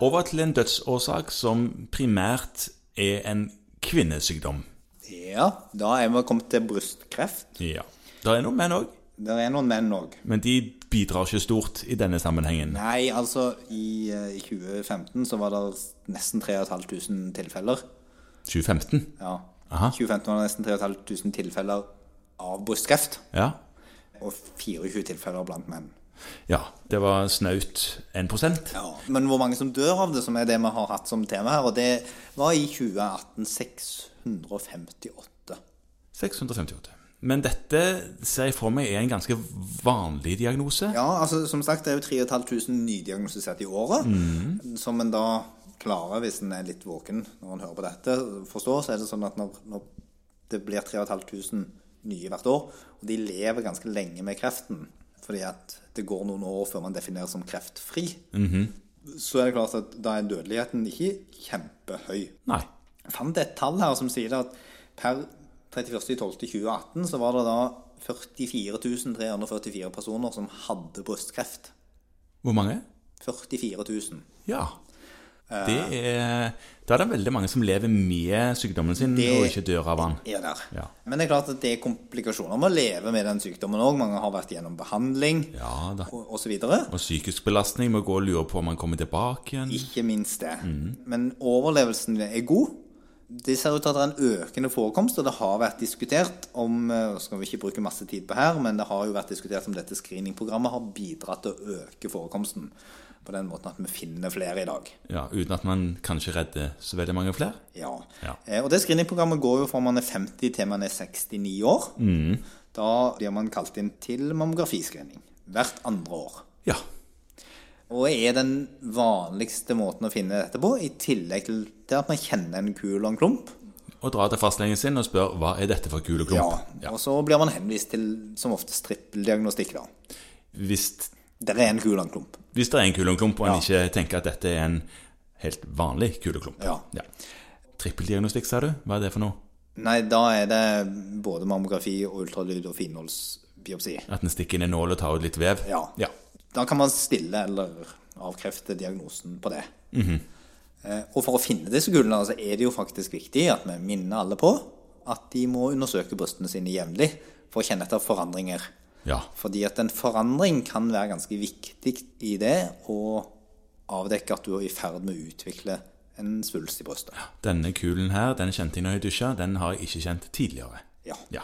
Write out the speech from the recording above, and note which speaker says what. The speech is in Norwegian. Speaker 1: over til en dødsårsak som primært er en kvinnesykdom.
Speaker 2: Ja, da er vi kommet til brystkreft.
Speaker 1: Ja. Det er noen menn òg,
Speaker 2: Det er noen menn òg.
Speaker 1: men de bidrar ikke stort i denne sammenhengen.
Speaker 2: Nei, altså i, eh, i 2015 så var det nesten 3500 tilfeller.
Speaker 1: 2015?
Speaker 2: Ja.
Speaker 1: Aha.
Speaker 2: 2015 var det nesten 3500 tilfeller av brystkreft.
Speaker 1: Ja.
Speaker 2: Og 24 tilfeller blant menn.
Speaker 1: ja. Det var snaut 1
Speaker 2: Ja, Men hvor mange som dør av det, som er det vi har hatt som tema her, og det var i 2018 658.
Speaker 1: 658. Men dette ser jeg for meg er en ganske vanlig diagnose.
Speaker 2: Ja, altså som sagt, det er jo 3500 nydiagnostiserte i året, som en da klarer, hvis en er litt våken når en hører på dette, forstår, så er det sånn at når, når det blir 3500 nye hvert år, og de lever ganske lenge med kreften, fordi at det går noen år før man defineres som kreftfri, så er det klart at da er dødeligheten ikke kjempehøy.
Speaker 1: Nei.
Speaker 2: Jeg fant et tall her som sier at per 31.12.2018 så var det da 44.344 personer som hadde brystkreft.
Speaker 1: Hvor mange?
Speaker 2: 44 000.
Speaker 1: Ja. Det
Speaker 2: Eh.
Speaker 1: er, da er det veldig mange som lever med sykdommen sin
Speaker 2: Det-
Speaker 1: og ikke dør av den.
Speaker 2: er der.
Speaker 1: Ja.
Speaker 2: Men det er klart at det er komplikasjoner med å leve med den sykdommen òg. Mange har vært gjennom behandling
Speaker 1: Ja da.
Speaker 2: og osv. videre.
Speaker 1: Og psykisk belastning med å gå og lure på om han kommer tilbake igjen.
Speaker 2: Ikke minst det. Men overlevelsen er god. Det ser ut til at det er en økende forekomst, og det har vært diskutert om eh, skal vi ikke bruke masse tid på her, men det har jo vært diskutert om dette screeningprogrammet har bidratt til å øke forekomsten. På den måten at vi finner flere i dag.
Speaker 1: Ja, uten at man kanskje redder så veldig mange flere.
Speaker 2: Ja.
Speaker 1: Ja.
Speaker 2: Eh, Og det screeningprogrammet går jo fra man er 50 til man er 69 år. Da blir man kalt inn til mammografiscreening hvert andre år.
Speaker 1: Ja.
Speaker 2: Og er den vanligste måten å finne dette på, i tillegg til til at man kjenner en kul og en klump.
Speaker 1: Og dra til fastlegen sin og spør hva er dette for kul og klump.
Speaker 2: Og så blir man henvist til som oftest trippeldiagnostikk, da.
Speaker 1: Hvis,
Speaker 2: Der er en kul og en klump.
Speaker 1: hvis det er en kul og klump, og en
Speaker 2: Ja.
Speaker 1: ikke tenker at dette er en helt vanlig kul og klump.
Speaker 2: Ja.
Speaker 1: Trippeldiagnostikk, sa du? Hva er det for noe?
Speaker 2: Nei, da er det både mammografi og ultralyd og finholdsbiopsi.
Speaker 1: At en stikker inn en nål og tar ut litt vev?
Speaker 2: Ja.
Speaker 1: ja.
Speaker 2: Da kan man stille eller avkrefte diagnosen på det. Eh, Og for å finne disse gullene så er det jo faktisk viktig at vi minner alle på at de må undersøke brystene sine jevnlig for å kjenne etter forandringer.
Speaker 1: Ja.
Speaker 2: Fordi at en forandring kan være ganske viktig i det å avdekke at du er i ferd med å utvikle en svulst i brystet.
Speaker 1: Denne kulen her, den kjente jeg når jeg dusja, den har jeg ikke kjent tidligere.
Speaker 2: Ja.
Speaker 1: Ja.